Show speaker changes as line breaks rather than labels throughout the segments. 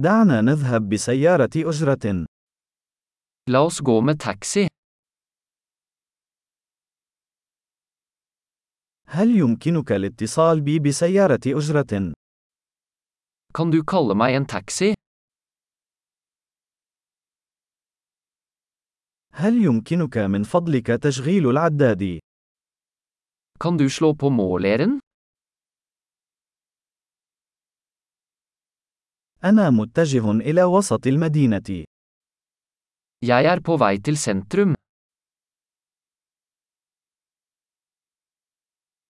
دعنا نذهب بسيارة أجرة.
La oss gå med taxi.
هل يمكنك الاتصال بي بسيارة أجرة؟
Kan du kalle meg en taxi?
هل يمكنك من فضلك تشغيل العداد؟
Kan du slå på måleren?
أنا متجه إلى وسط المدينة.
Jeg er på vei til sentrum.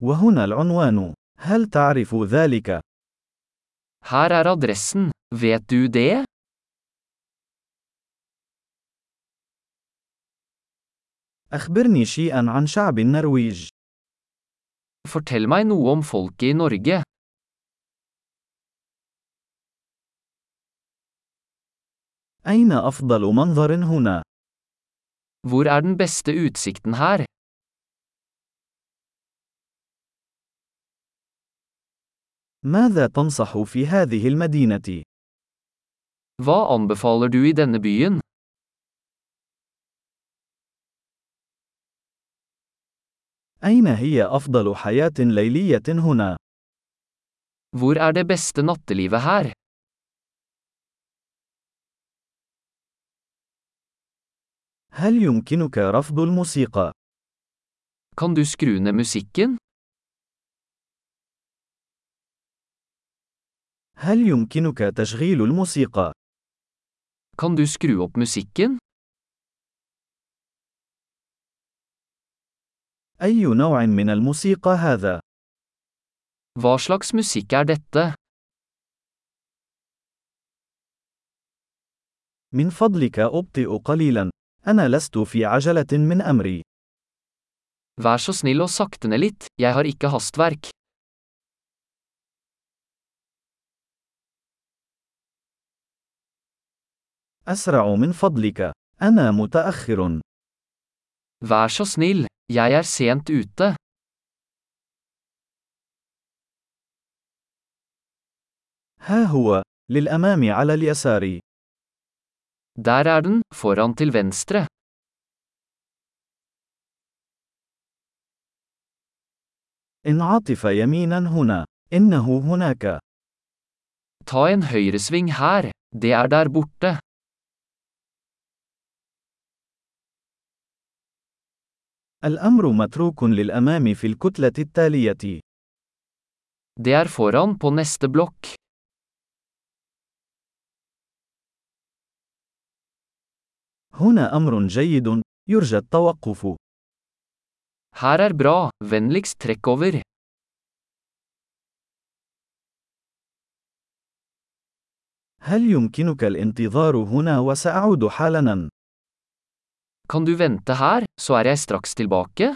وهنا العنوان. هل تعرف ذلك؟
Her er adressen. Vet du det?
أخبرني شيئًا عن شعب النرويج.
Fortell meg noe om folket i Norge.
أين أفضل منظر هنا؟
Hvor er den beste utsikten her?
ماذا تنصح في هذه المدينة؟
Hva anbefaler du i denne byen?
أين هي أفضل حياة ليلية هنا؟
Hvor er det beste nattelivet her?
هل يمكنك رفض الموسيقى؟
Kan du skru ned musikken?
هل يمكنك تشغيل الموسيقى؟
Kan du skru opp musikken?
أي نوع من الموسيقى هذا؟
Hva slags musikk er dette?
من فضلك أبطئ قليلا. أنا لست في عجلة من أمري.
Vær så snill å sakte ned litt, jeg har ikke hastverk.
أسرع من فضلك. أنا متأخر.
Vær så snill, jeg er sent ute.
ها هو. للأمام على اليسار.
Der er den, foran til venstre.
انعطف يمينا هنا. إنه هناك.
Ta en høyresving her, det er der borte.
الأمر متروك للأمام في الكتلة التالية.
Det er foran på neste blokk.
هنا أمر جيد. يرجى التوقف.
Her er bra, vennligst trekk over.
هل يمكنك الانتظار هنا وسأعود حالاً؟
Kan du vente her, så er jeg straks tilbake?